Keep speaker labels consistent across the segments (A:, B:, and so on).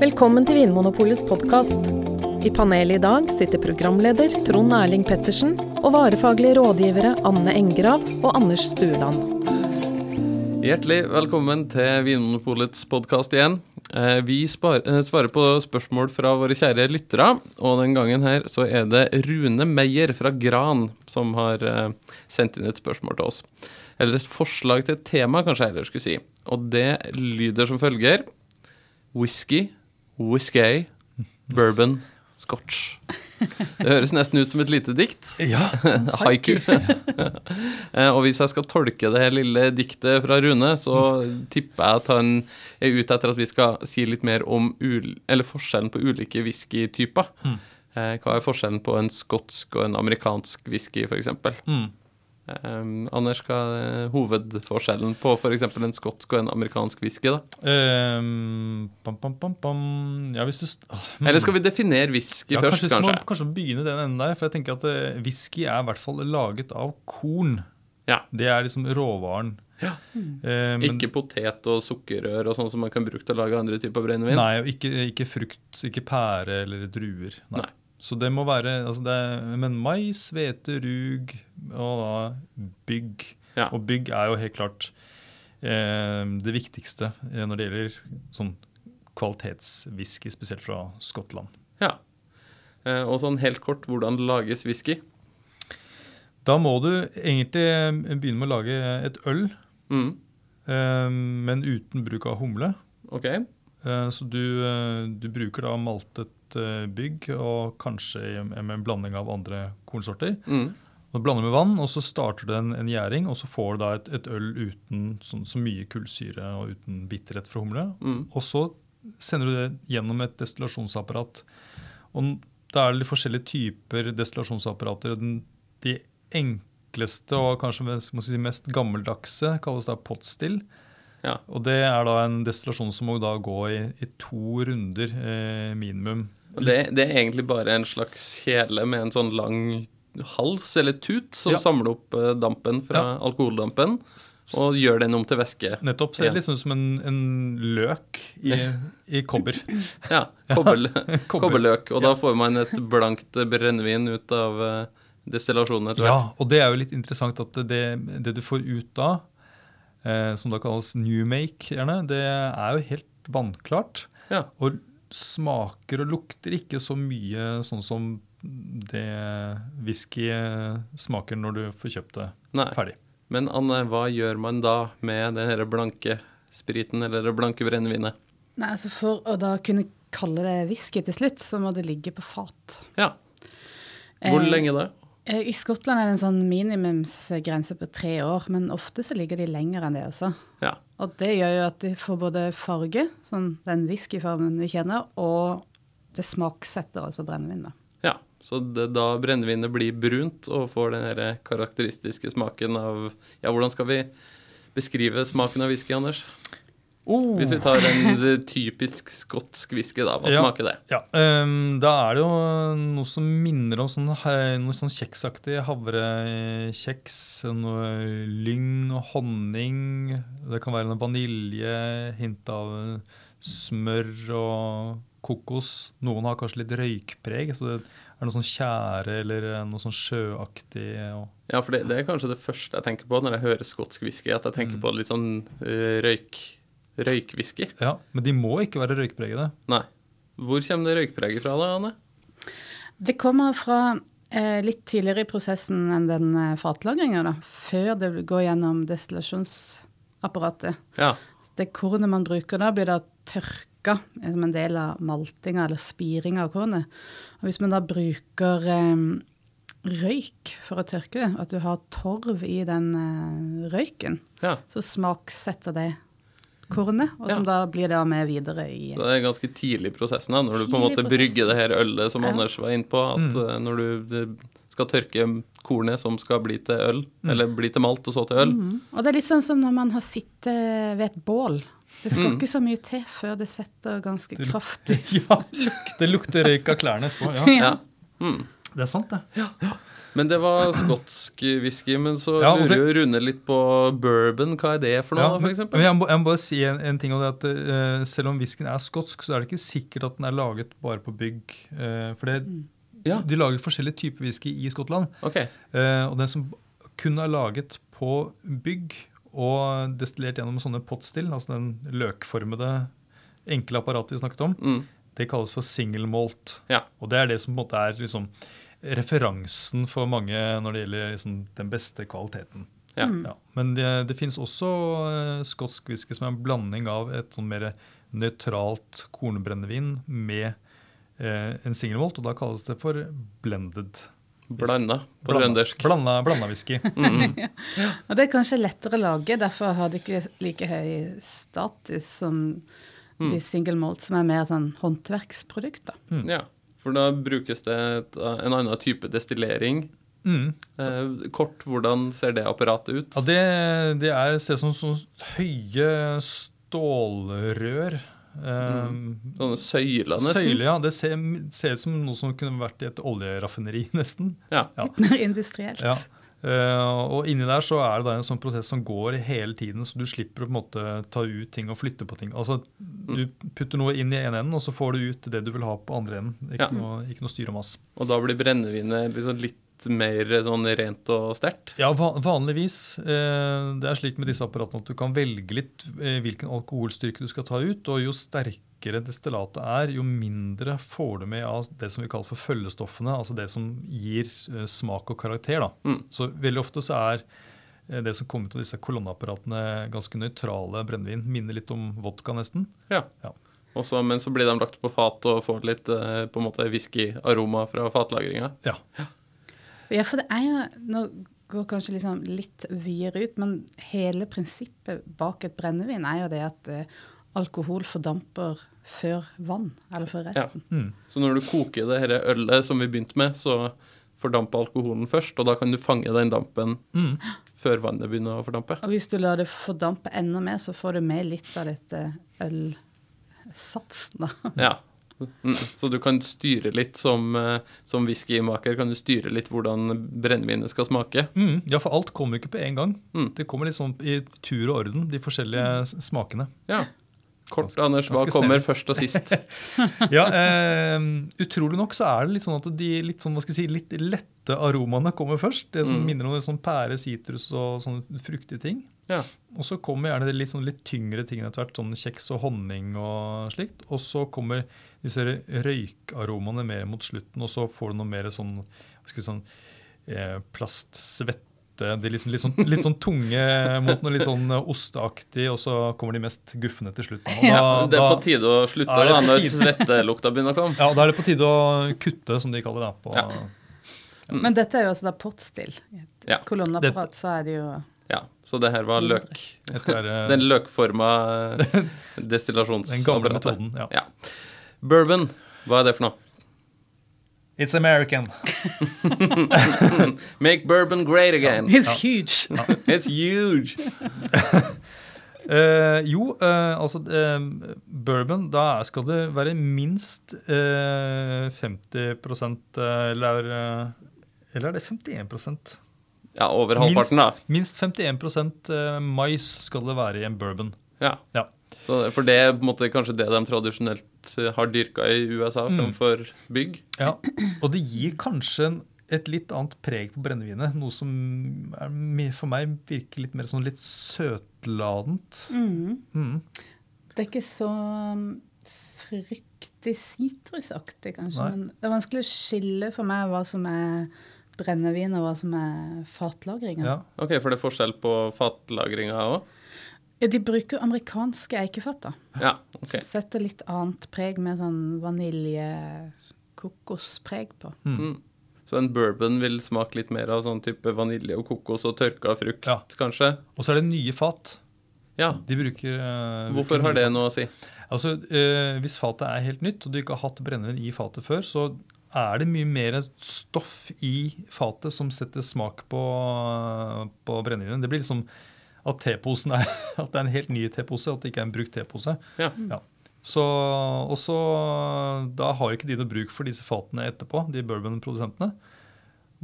A: Velkommen til Vinmonopolets podkast. I panelet i dag sitter programleder Trond Erling Pettersen og varefaglige rådgivere Anne Engrav og Anders Stueland.
B: Hjertelig velkommen til Vinmonopolets podkast igjen. Eh, Vi spar, eh, svarer på spørsmål fra våre kjære lyttere, og den gangen her så er det Rune Meyer fra Gran som har eh, sendt inn et spørsmål til oss. Eller et forslag til et tema, kanskje jeg heller skulle si. Og det lyder som følger. Whisky, whisky, bourbon, scotch. Det høres nesten ut som et lite dikt.
C: Ja.
B: Haiku. Eh, og hvis jeg skal tolke det her lille diktet fra Rune, så
C: Mm.
B: tipper jeg at han er ute etter at vi skal si litt mer om ul eller forskjellen på ulike whiskytyper.
C: Mm.
B: Eh, hva er forskjellen på en skotsk og en amerikansk whisky, f.eks.?
C: Mm.
B: Um, Anders, hva er hovedforskjellen på f.eks. en skotsk og en amerikansk whisky?
C: Mm.
B: da?
C: Ehm, pam, pam, pam, pam. Ja, hvis du st- Åh, hmm.
B: Eller skal vi definere whisky
C: ja,
B: først,
C: kanskje? vi
B: kanskje?
C: Må, kanskje begynne i den enden der. For jeg tenker at eh, whisky er i hvert fall laget av korn.
B: Ja.
C: Det er liksom råvaren.
B: Ja.
C: Eh, men-
B: Ikke potet og sukkerrør og sånn som man kan bruke til å lage andre typer brennevin?
C: Nei, og ikke, ikke frukt, ikke pære eller druer. Nei.
B: Nei.
C: Så det må være altså det er, Men mais, hvete, rug og da bygg.
B: Ja.
C: Og bygg er jo helt klart eh, det viktigste eh, når det gjelder sånn kvalitetswhisky, spesielt fra Skottland.
B: Ja. Eh, Og sånn helt kort, hvordan lages whisky?
C: Da må du egentlig eh, begynne med å lage et øl,
B: Mm.
C: eh, men uten bruk av humle.
B: Ok.
C: Eh, Så du, eh, du bruker da maltet eh, bygg og kanskje i- med en blanding av andre kornsorter.
B: Mm.
C: Og Du blander med vann, og så starter du en, en gjæring, og så får du da et, et øl uten sånn, så mye kullsyre og uten bitterhet fra humle.
B: Mm.
C: Og så sender du det gjennom et destillasjonsapparat. Og n- da er det litt forskjellige typer destillasjonsapparater. og Den, de enkleste og kanskje mest, må jeg si, mest gammeldagse kalles da potstill.
B: Ja.
C: Og det er da en destillasjon som må da gå i, i to runder eh, minimum.
B: Og Det, det er egentlig bare en slags kjele med en sånn lang hals, eller tut, som
C: Ja.
B: samler opp eh, dampen fra
C: Ja.
B: alkoholdampen og gjør den om til væske.
C: Nettopp. Så det
B: Ja.
C: er liksom som en, en løk i, i kobber.
B: Ja, kobberl
C: Kobber.
B: kobberløk. Og da får man et blankt brennevin ut av eh, destillasjonen etter hvert.
C: Ja, og det er jo litt interessant at det, det du får ut da, eh, som da kalles new make, gjerne, det er jo helt vannklart.
B: Ja.
C: Og smaker og lukter ikke så mye sånn som det whisky eh, smaker når du får kjøpt det
B: Nei.
C: ferdig.
B: Men Anne, hva gjør man da med den her blanke spriten, eller det blanke brennevinet?
D: Nei, altså For å da kunne kalle det whisky til slutt, så må det ligge på fat.
B: Ja. Hvor
D: Eh,
B: lenge da?
D: Eh, I Skottland er det en sånn minimumsgrense på tre år, men ofte så ligger de lenger enn det også.
B: Ja.
D: Og det gjør jo at de får både farge, sånn den whiskyfargen vi kjenner, og det smaksetter altså brennevin, da.
B: Ja, så det, da brennevinet blir brunt og får den her karakteristiske smaken av Ja, hvordan skal vi beskrive smaken av whisky, Anders? Hvis vi tar en eh, typisk skotsk whisky, da. Hva
C: Ja.
B: smaker det?
C: Ja, ehm, Da er det jo noe som minner om sånn, he- noe sånn kjeksaktig havrekjeks. Noe lyng og honning. Det kan være noe vanilje, hint av eh, smør og kokos. Noen har kanskje litt røykpreg, så det er noe sånn tjære eller eh, noe sånn sjøaktig. Og
B: Ja, for det, det er kanskje det første jeg tenker på når jeg hører skotsk whisky, at jeg tenker på litt sånn eh, røyk røykwhisky.
C: ja, men de må ikke være røykpregede.
B: Nei. Hvor kommer det røykpreget fra, da, Anne?
D: Det kommer fra eh, litt tidligere i prosessen enn den eh, fatlagringa, da. Før det går gjennom destillasjonsapparatet.
B: Ja.
D: Det kornet man bruker da, blir da tørka eh, som en del av maltinga eller spiringa av kornet. Og hvis man da bruker eh, røyk for å tørke det, at du har torv i den eh, røyken,
B: ja.
D: så smaksetter det kornet, og som da blir det med videre i
B: Så det er ganske tidlig i prosessen, da, når du på en
D: Tidlig i
B: måte
D: prosessen.
B: brygger det her ølet som
D: Ja.
B: Anders var inne på. At
C: Mm.
B: eh, når du eh, skal tørke kornet som skal bli til øl,
C: Mm.
B: eller bli til malt og så til øl.
D: Mm. Og det er litt sånn som når man har sittet ved et bål. Det
C: Mm.
D: skal ikke så mye til før det setter ganske kraftig
C: Ja, det lukter røyk av klærne etterpå. Ja.
B: Ja. Mm.
C: Det er sant, det.
B: Men det var skotsk whisky. Men så
C: Ja, og
B: lurer jo
C: det-
B: Rune litt på bourbon. Hva er det for noe,
C: Ja,
B: da, for eksempel?
C: Men jeg må, jeg må bare si en, en ting om det at eh, selv om whiskyen er skotsk, så er det ikke sikkert at den er laget bare på bygg. eh, for det,
B: Ja.
C: de lager forskjellige typer whisky i Skottland.
B: Ok.
C: eh, og den som kun er laget på bygg og destillert gjennom sånne potstill, altså den løkformede enkle apparatet vi snakket om,
B: Mm.
C: det kalles for single malt.
B: Ja.
C: Og det er det som på en måte er liksom referansen for mange når det gjelder liksom den beste kvaliteten.
B: Ja.
C: Ja, men det, det finnes også eh, skotsk whisky som er en blanding av et sånn mer nøytralt kornbrennevin med eh, en single malt, og da kalles det for blended.
B: Blanda på
C: Blanda-
B: trøndersk.
C: Blanda, blanda whisky.
D: Og det er kanskje lettere lage, derfor har det ikke like høy status som de single malt, som er mer sånn håndverksprodukt. da.
C: Mm.
B: Ja. For da brukes det et, eh, en annen type destillering.
C: Mm.
B: Eh, kort, hvordan ser det apparatet ut?
C: Ja, det, det er ser ut som sånne høye stålrør. Eh,
B: Sånne søyler, nesten.
C: Søyle, ja. Det ser, ser ut som noe som kunne vært i et oljeraffineri, nesten.
B: Ja.
C: Ja.
D: Litt mer industrielt.
C: Ja. Eh, og inni der så er det da en sånn prosess som går hele tiden, så du slipper å på en måte ta ut ting og flytte på ting. Altså, Du
B: Mm.
C: putter noe inn i ene enden, og så får du ut det du vil ha på andre enden. Ikke,
B: Ja.
C: noe, ikke noe styr og mas.
B: Og da blir brennevinet liksom litt mer sånn rent og sterkt?
C: Ja, va vanligvis. Eh, det er slik med disse apparatene at du kan velge litt eh, hvilken alkoholstyrke du skal ta ut. Og jo sterkere destillatet er, jo mindre får du med av det som vi kaller for følgestoffene. Altså det som gir eh, smak og karakter. Da.
B: Mm.
C: Så veldig ofte så er eh, det som kommer ut av disse kolonneapparatene, ganske nøytrale brennevin. Minner litt om vodka, nesten.
B: Ja.
C: Ja.
B: Og så- men så blir de lagt på fat og får litt eh, på en måte whiskyaroma fra fatlagringa.
C: Ja.
D: Ja, for det er jo Nå går kanskje liksom litt videre ut, men hele prinsippet bak et brennevin er jo det at eh, alkohol fordamper før vann, eller før
B: Ja.
D: resten.
C: Mm.
B: Så når du koker det her ølet som vi begynte med, så fordamper alkoholen først, og da kan du fange den dampen
C: Mm.
B: før vannet begynner å fordampe.
D: Og hvis du lar det fordampe enda mer, så får du med litt av dette ølsatsen, da.
B: Ja. Mm. Så du kan styre litt som, eh, som whiskymaker, kan du styre litt hvordan brennevinet skal smake.
C: Mm. ja, for alt kommer jo ikke på én gang.
B: Mm.
C: Det kommer litt sånn i tur og orden, de forskjellige s- smakene.
B: Ja. Kort,
C: Ganske-
B: Anders, hva
C: ganske
B: kommer
C: snedig.
B: først og sist?
C: Ja, eh, utrolig nok så er det litt sånn at de litt, sånn, hva skal jeg si, litt lette aromaene kommer først. Det
B: Mm.
C: som minner om sånn pære, sitrus og sånne fruktige ting.
B: Ja.
C: Og så kommer gjerne de litt, sånn, litt tyngre tingene etter hvert, sånn kjeks og honning og slikt. Og så kommer disse røykaromaene mer mot slutten, og så får du noe mer sånn, hva skal jeg si, sånn eh, plastsvette. De er liksom, litt, sånn, litt sånn tunge mot noe litt sånn osteaktig, og så kommer de mest guffende til slutt. Og da-
B: Det er
C: da-
B: på tide å slutte
C: Ja, det er
B: da,
C: på
B: når
C: tide.
B: svettelukta begynner å komme.
C: ja, da er det på tide å kutte, som de kaller det. På,
B: Ja.
D: Men dette er jo altså da potstill. I et
B: Ja.
D: Kolonneapparat, så er det jo
B: Ja, Så det her var løk.
C: etter, eh,
B: Den løkforma eh,
C: den gamle
B: destillasjonsapparatet.
C: metoden. Ja.
B: Ja. Bourbon, hva er det for noe?
C: It's American.
B: Make bourbon great again.
D: It's huge!
B: It's huge.
C: Eh, jo, eh, altså eh, bourbon, da skal det være minst eh, 50 eh, eller, eh, eller er det 51
B: Ja, over halvparten, da.
C: Minst 51 eh, mais skal det være i en bourbon.
B: Ja.
C: Ja.
B: Så, for det er på en måte kanskje det de tradisjonelt eh, har dyrka i USA
C: Mm.
B: framfor bygg.
C: Ja, og det gir kanskje en, et litt annet preg på brennevinet. Noe som er, me- for meg virker litt mer sånn litt søtladent. Mm.
D: Det er ikke så um, fryktig sitrusaktig, kanskje.
C: Nei.
D: Men det er vanskelig å skille for meg hva som er brennevin, og hva som er fatlagring.
C: Ja.
D: Ja.
B: Ok, For det er forskjell på fatlagringa òg?
D: de bruker amerikanske eikefat, da.
B: Ja. ok.
D: Så setter litt annet preg med sånn vanilje-kokospreg på.
C: Mm.
B: Mm. Så en bourbon vil smake litt mer av sånn type vanilje og kokos og tørka frukt,
C: Ja.
B: kanskje?
C: Og så er det nye fat.
B: Ja.
C: De bruker eh,
B: Hvorfor
C: bruker
B: har
C: nye
B: det noe å si?
C: Altså, eh, Hvis fatet er helt nytt, og du ikke har hatt brennevin i fatet før, så er det mye mer stoff i fatet som setter smak på, på brennevinet. Det blir liksom at teposen er, at det er en helt ny tepose, at det ikke er en brukt tepose.
B: Ja.
C: Ja. Så, og så da har jo ikke de noe bruk for disse fatene etterpå, de bourbonprodusentene.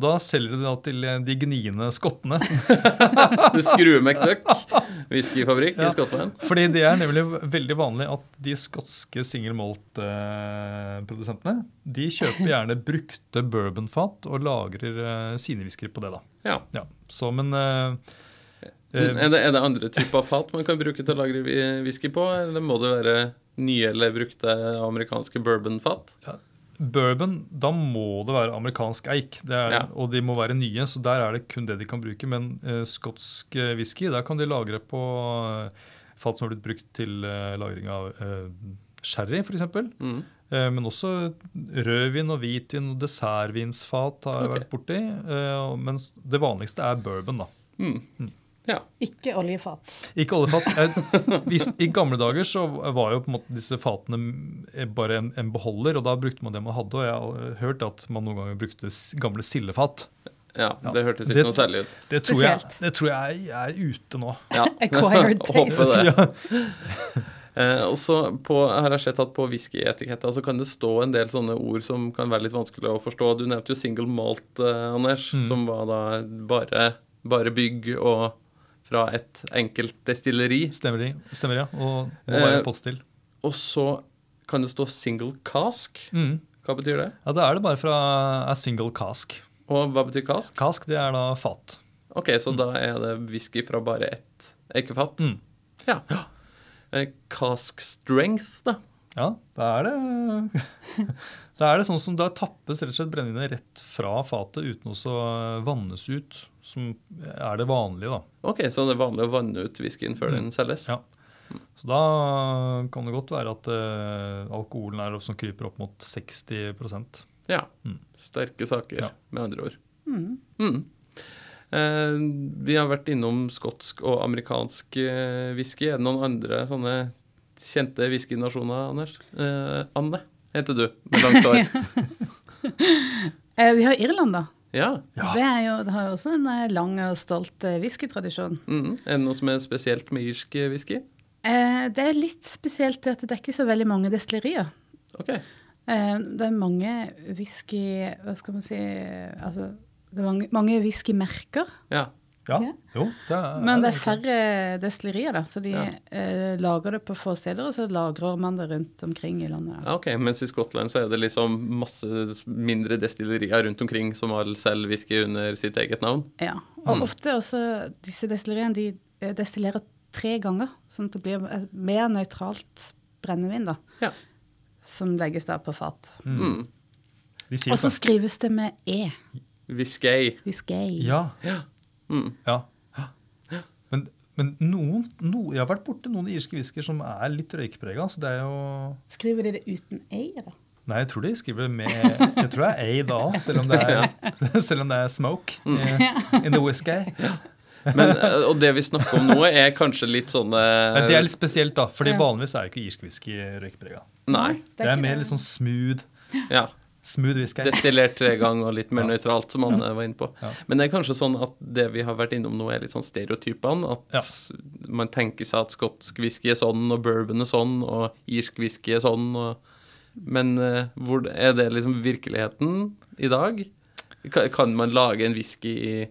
C: Da selger de da til de gniende skottene.
B: Du skruer McDuck, whiskyfabrikk i
C: Ja.
B: Skottland.
C: Fordi det er nemlig veldig vanlig at de skotske single malt-produsentene de kjøper gjerne brukte bourbonfat og lagrer eh, sine whiskyer på det. da.
B: Ja.
C: Ja, så men eh, eh,
B: Er det, er det andre typer fat man kan bruke til å lagre whi- whisky på, eller må det være nye eller brukte amerikanske bourbonfat?
C: Bourbon, da må det være amerikansk eik. Det er,
B: Ja.
C: Og de må være nye, så der er det kun det de kan bruke. Men eh, skotsk eh, whisky, der kan de lagre på eh, fat som har blitt brukt til eh, lagring av eh, sherry, f.eks.
B: Mm.
C: Eh, men også rødvin og hvitvin og dessertvinsfat har jeg
B: Ok.
C: vært borti. Eh, men det vanligste er bourbon, da.
B: Mm.
D: Ikke oljefat.
C: Ikke alle fat. Eh, hvis, I gamle dager så var jo på en måte disse fatene m- bare en, en beholder, og da brukte man det man hadde. Og jeg har eh, hørt at man noen ganger brukte s- gamle sildefat.
B: Ja,
C: Ja.
B: det hørtes ikke
C: Det-
B: noe særlig ut.
C: Det tror jeg,
D: Spesielt.
C: det tror jeg er ute nå.
B: Ja.
D: Acquired taste.
B: Håper det. Eh, og så på, her har jeg sett at på whiskyetiketter så kan det stå en del sånne ord som kan være litt vanskelig å forstå. Du nevnte jo single malt, eh, Anders, som var da bare, bare bygg og fra et enkelt destilleri.
C: Stemmer, de- stemmer ja. Og må
B: Eh,
C: være poststill.
B: Og så kan det stå single cask.
C: Mm.
B: Hva betyr det?
C: Ja, da er det bare fra a single cask.
B: Og hva betyr cask?
C: Cask, det er da fat.
B: Ok, så da er det whisky fra bare ett eikefat?
C: Mm.
B: Ja. Eh, Cask strength, da?
C: Ja, da er det Da er det sånn som da tappes rett og slett brennevinet rett fra fatet uten også å eh, vannes ut, som er det vanlige, da.
B: Ok, så det er vanlig å vanne ut whiskyen før den selges?
C: Mm. Ja. Så da kan det godt være at eh, alkoholen er opp, som kryper opp mot 60
B: Ja.
C: Mm.
B: Sterke saker,
C: Ja.
B: med andre ord. Mm. Eh, vi har vært innom skotsk og amerikansk eh, whisky. Er det noen andre sånne kjente whiskynasjoner, Anders? Eh, Anne heter du, med langt hår.
D: Eh, vi har Irland, da.
B: ja.
C: Ja.
D: Det, er jo, det har jo også en eh, lang og stolt eh, whiskytradisjon.
B: Mm. Er det noe som er spesielt med irsk eh, whisky?
D: Eh, det er litt spesielt det at det er ikke så veldig mange destillerier.
B: Ok.
D: Eh, det er mange whisky Hva skal man si Altså, det er mange, mange whiskymerker.
B: Ja.
C: Ja,
D: Ja.
C: jo, det er,
D: Men det er færre destillerier, da. Så de
B: Ja.
D: eh, lager det på få steder, og så lagrer man det rundt omkring i landet. da.
B: Ja, ok, Mens i Skottland så er det liksom masse s- mindre destillerier rundt omkring som alle selger whisky under sitt eget navn.
D: Ja. Og ofte også disse destilleriene, de eh, destillerer tre ganger, sånn at det blir et mer nøytralt brennevin, da.
B: Ja.
D: Som legges da på fat.
B: Mm.
C: De sier
D: Og så
C: det.
D: skrives det med E.
B: Whisky.
D: Whisky.
C: Ja.
B: Ja. Mm.
C: ja. Men, men noen, no, jeg har vært borti noen irske whiskyer som er litt røykprega. Så det er jo
D: Skriver de det uten E, da?
C: Nei, jeg tror de skriver med Jeg tror det er A da, selv om det er, selv om det er smoke eh, in the whisky.
B: Men, eh, og det vi snakker om nå, er kanskje litt sånn, eh, sånne
C: Men det er litt spesielt, da. fordi
D: Ja.
C: vanligvis er jo ikke irsk whisky røykprega.
B: Nei.
D: Det er
C: Det er
D: ikke
C: mer
D: det.
C: litt sånn smooth,
B: Ja.
C: smooth whisky.
B: Destillert tre ganger og litt mer nøytralt, som han eh, var inne på.
C: Ja.
B: Men det er kanskje sånn at det vi har vært innom nå, er litt sånn stereotypene. At
C: Ja.
B: s- man tenker seg at skotsk whisky er sånn, og bourbon er sånn, og irsk whisky er sånn. Og... Men eh, hvor, er det liksom virkeligheten i dag? Ka- Kan man lage en whisky i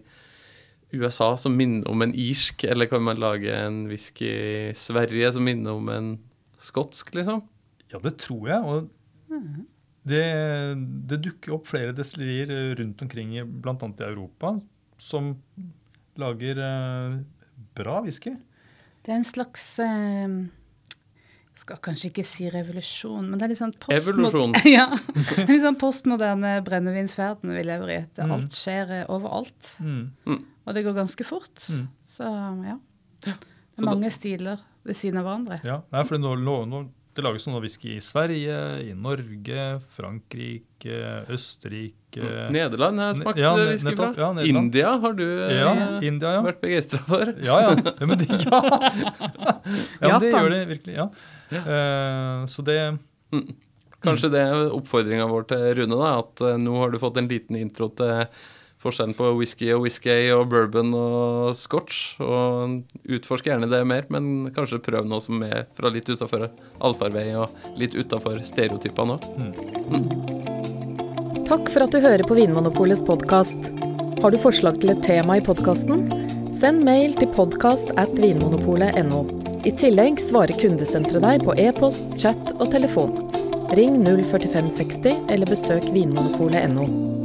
B: USA som minner om en irsk, eller kan man lage en whisky i Sverige som minner om en skotsk, liksom?
C: Ja, det tror jeg. Og
D: Mm.
C: det, det dukker opp flere destillerier eh, rundt omkring, bl.a. i Europa, som lager eh, bra whisky.
D: Det er en slags eh, jeg skal kanskje ikke si revolusjon, men det er litt sånn postmod-
B: Evolusjon.
D: ja. Det er Litt sånn postmoderne brennevinsverden vi lever i.
B: Mm.
D: Det alt skjer eh, overalt.
C: Mm.
D: Og det går ganske fort. Så ja. Det
B: Mm. Så da-
D: er mange stiler ved siden av hverandre.
C: Ja, nei, for nå, nå, nå, det lages noe whisky i Sverige, i Norge, Frankrike, Østerrike
B: Nederland har jeg
C: Ne-
B: smakt
C: ja, ne-
B: whisky fra.
C: nettopp, ja, Nederland.
B: India har du eh,
C: Ja, India, ja.
B: vært begeistra for.
C: Ja, ja. ja, men det, ja. ja men det
D: Japan.
C: gjør det virkelig. Ja. Eh, så det
B: Kanskje det er oppfordringa vår til Rune, da, at eh, nå har du fått en liten intro til forskjellen på whisky og whisky og bourbon og scotch. Og utforsk gjerne det mer, men kanskje prøv noe som er fra litt utafor allfarvei og litt utafor stereotypene òg.
A: Takk for at du hører på Vinmonopolets podkast. Har du forslag til et tema i podkasten? Send mail til podkast at vinmonopolet.no. I tillegg svarer kundesenteret deg på e-post, chat og telefon. Ring 04560 eller besøk vinmonopolet.no.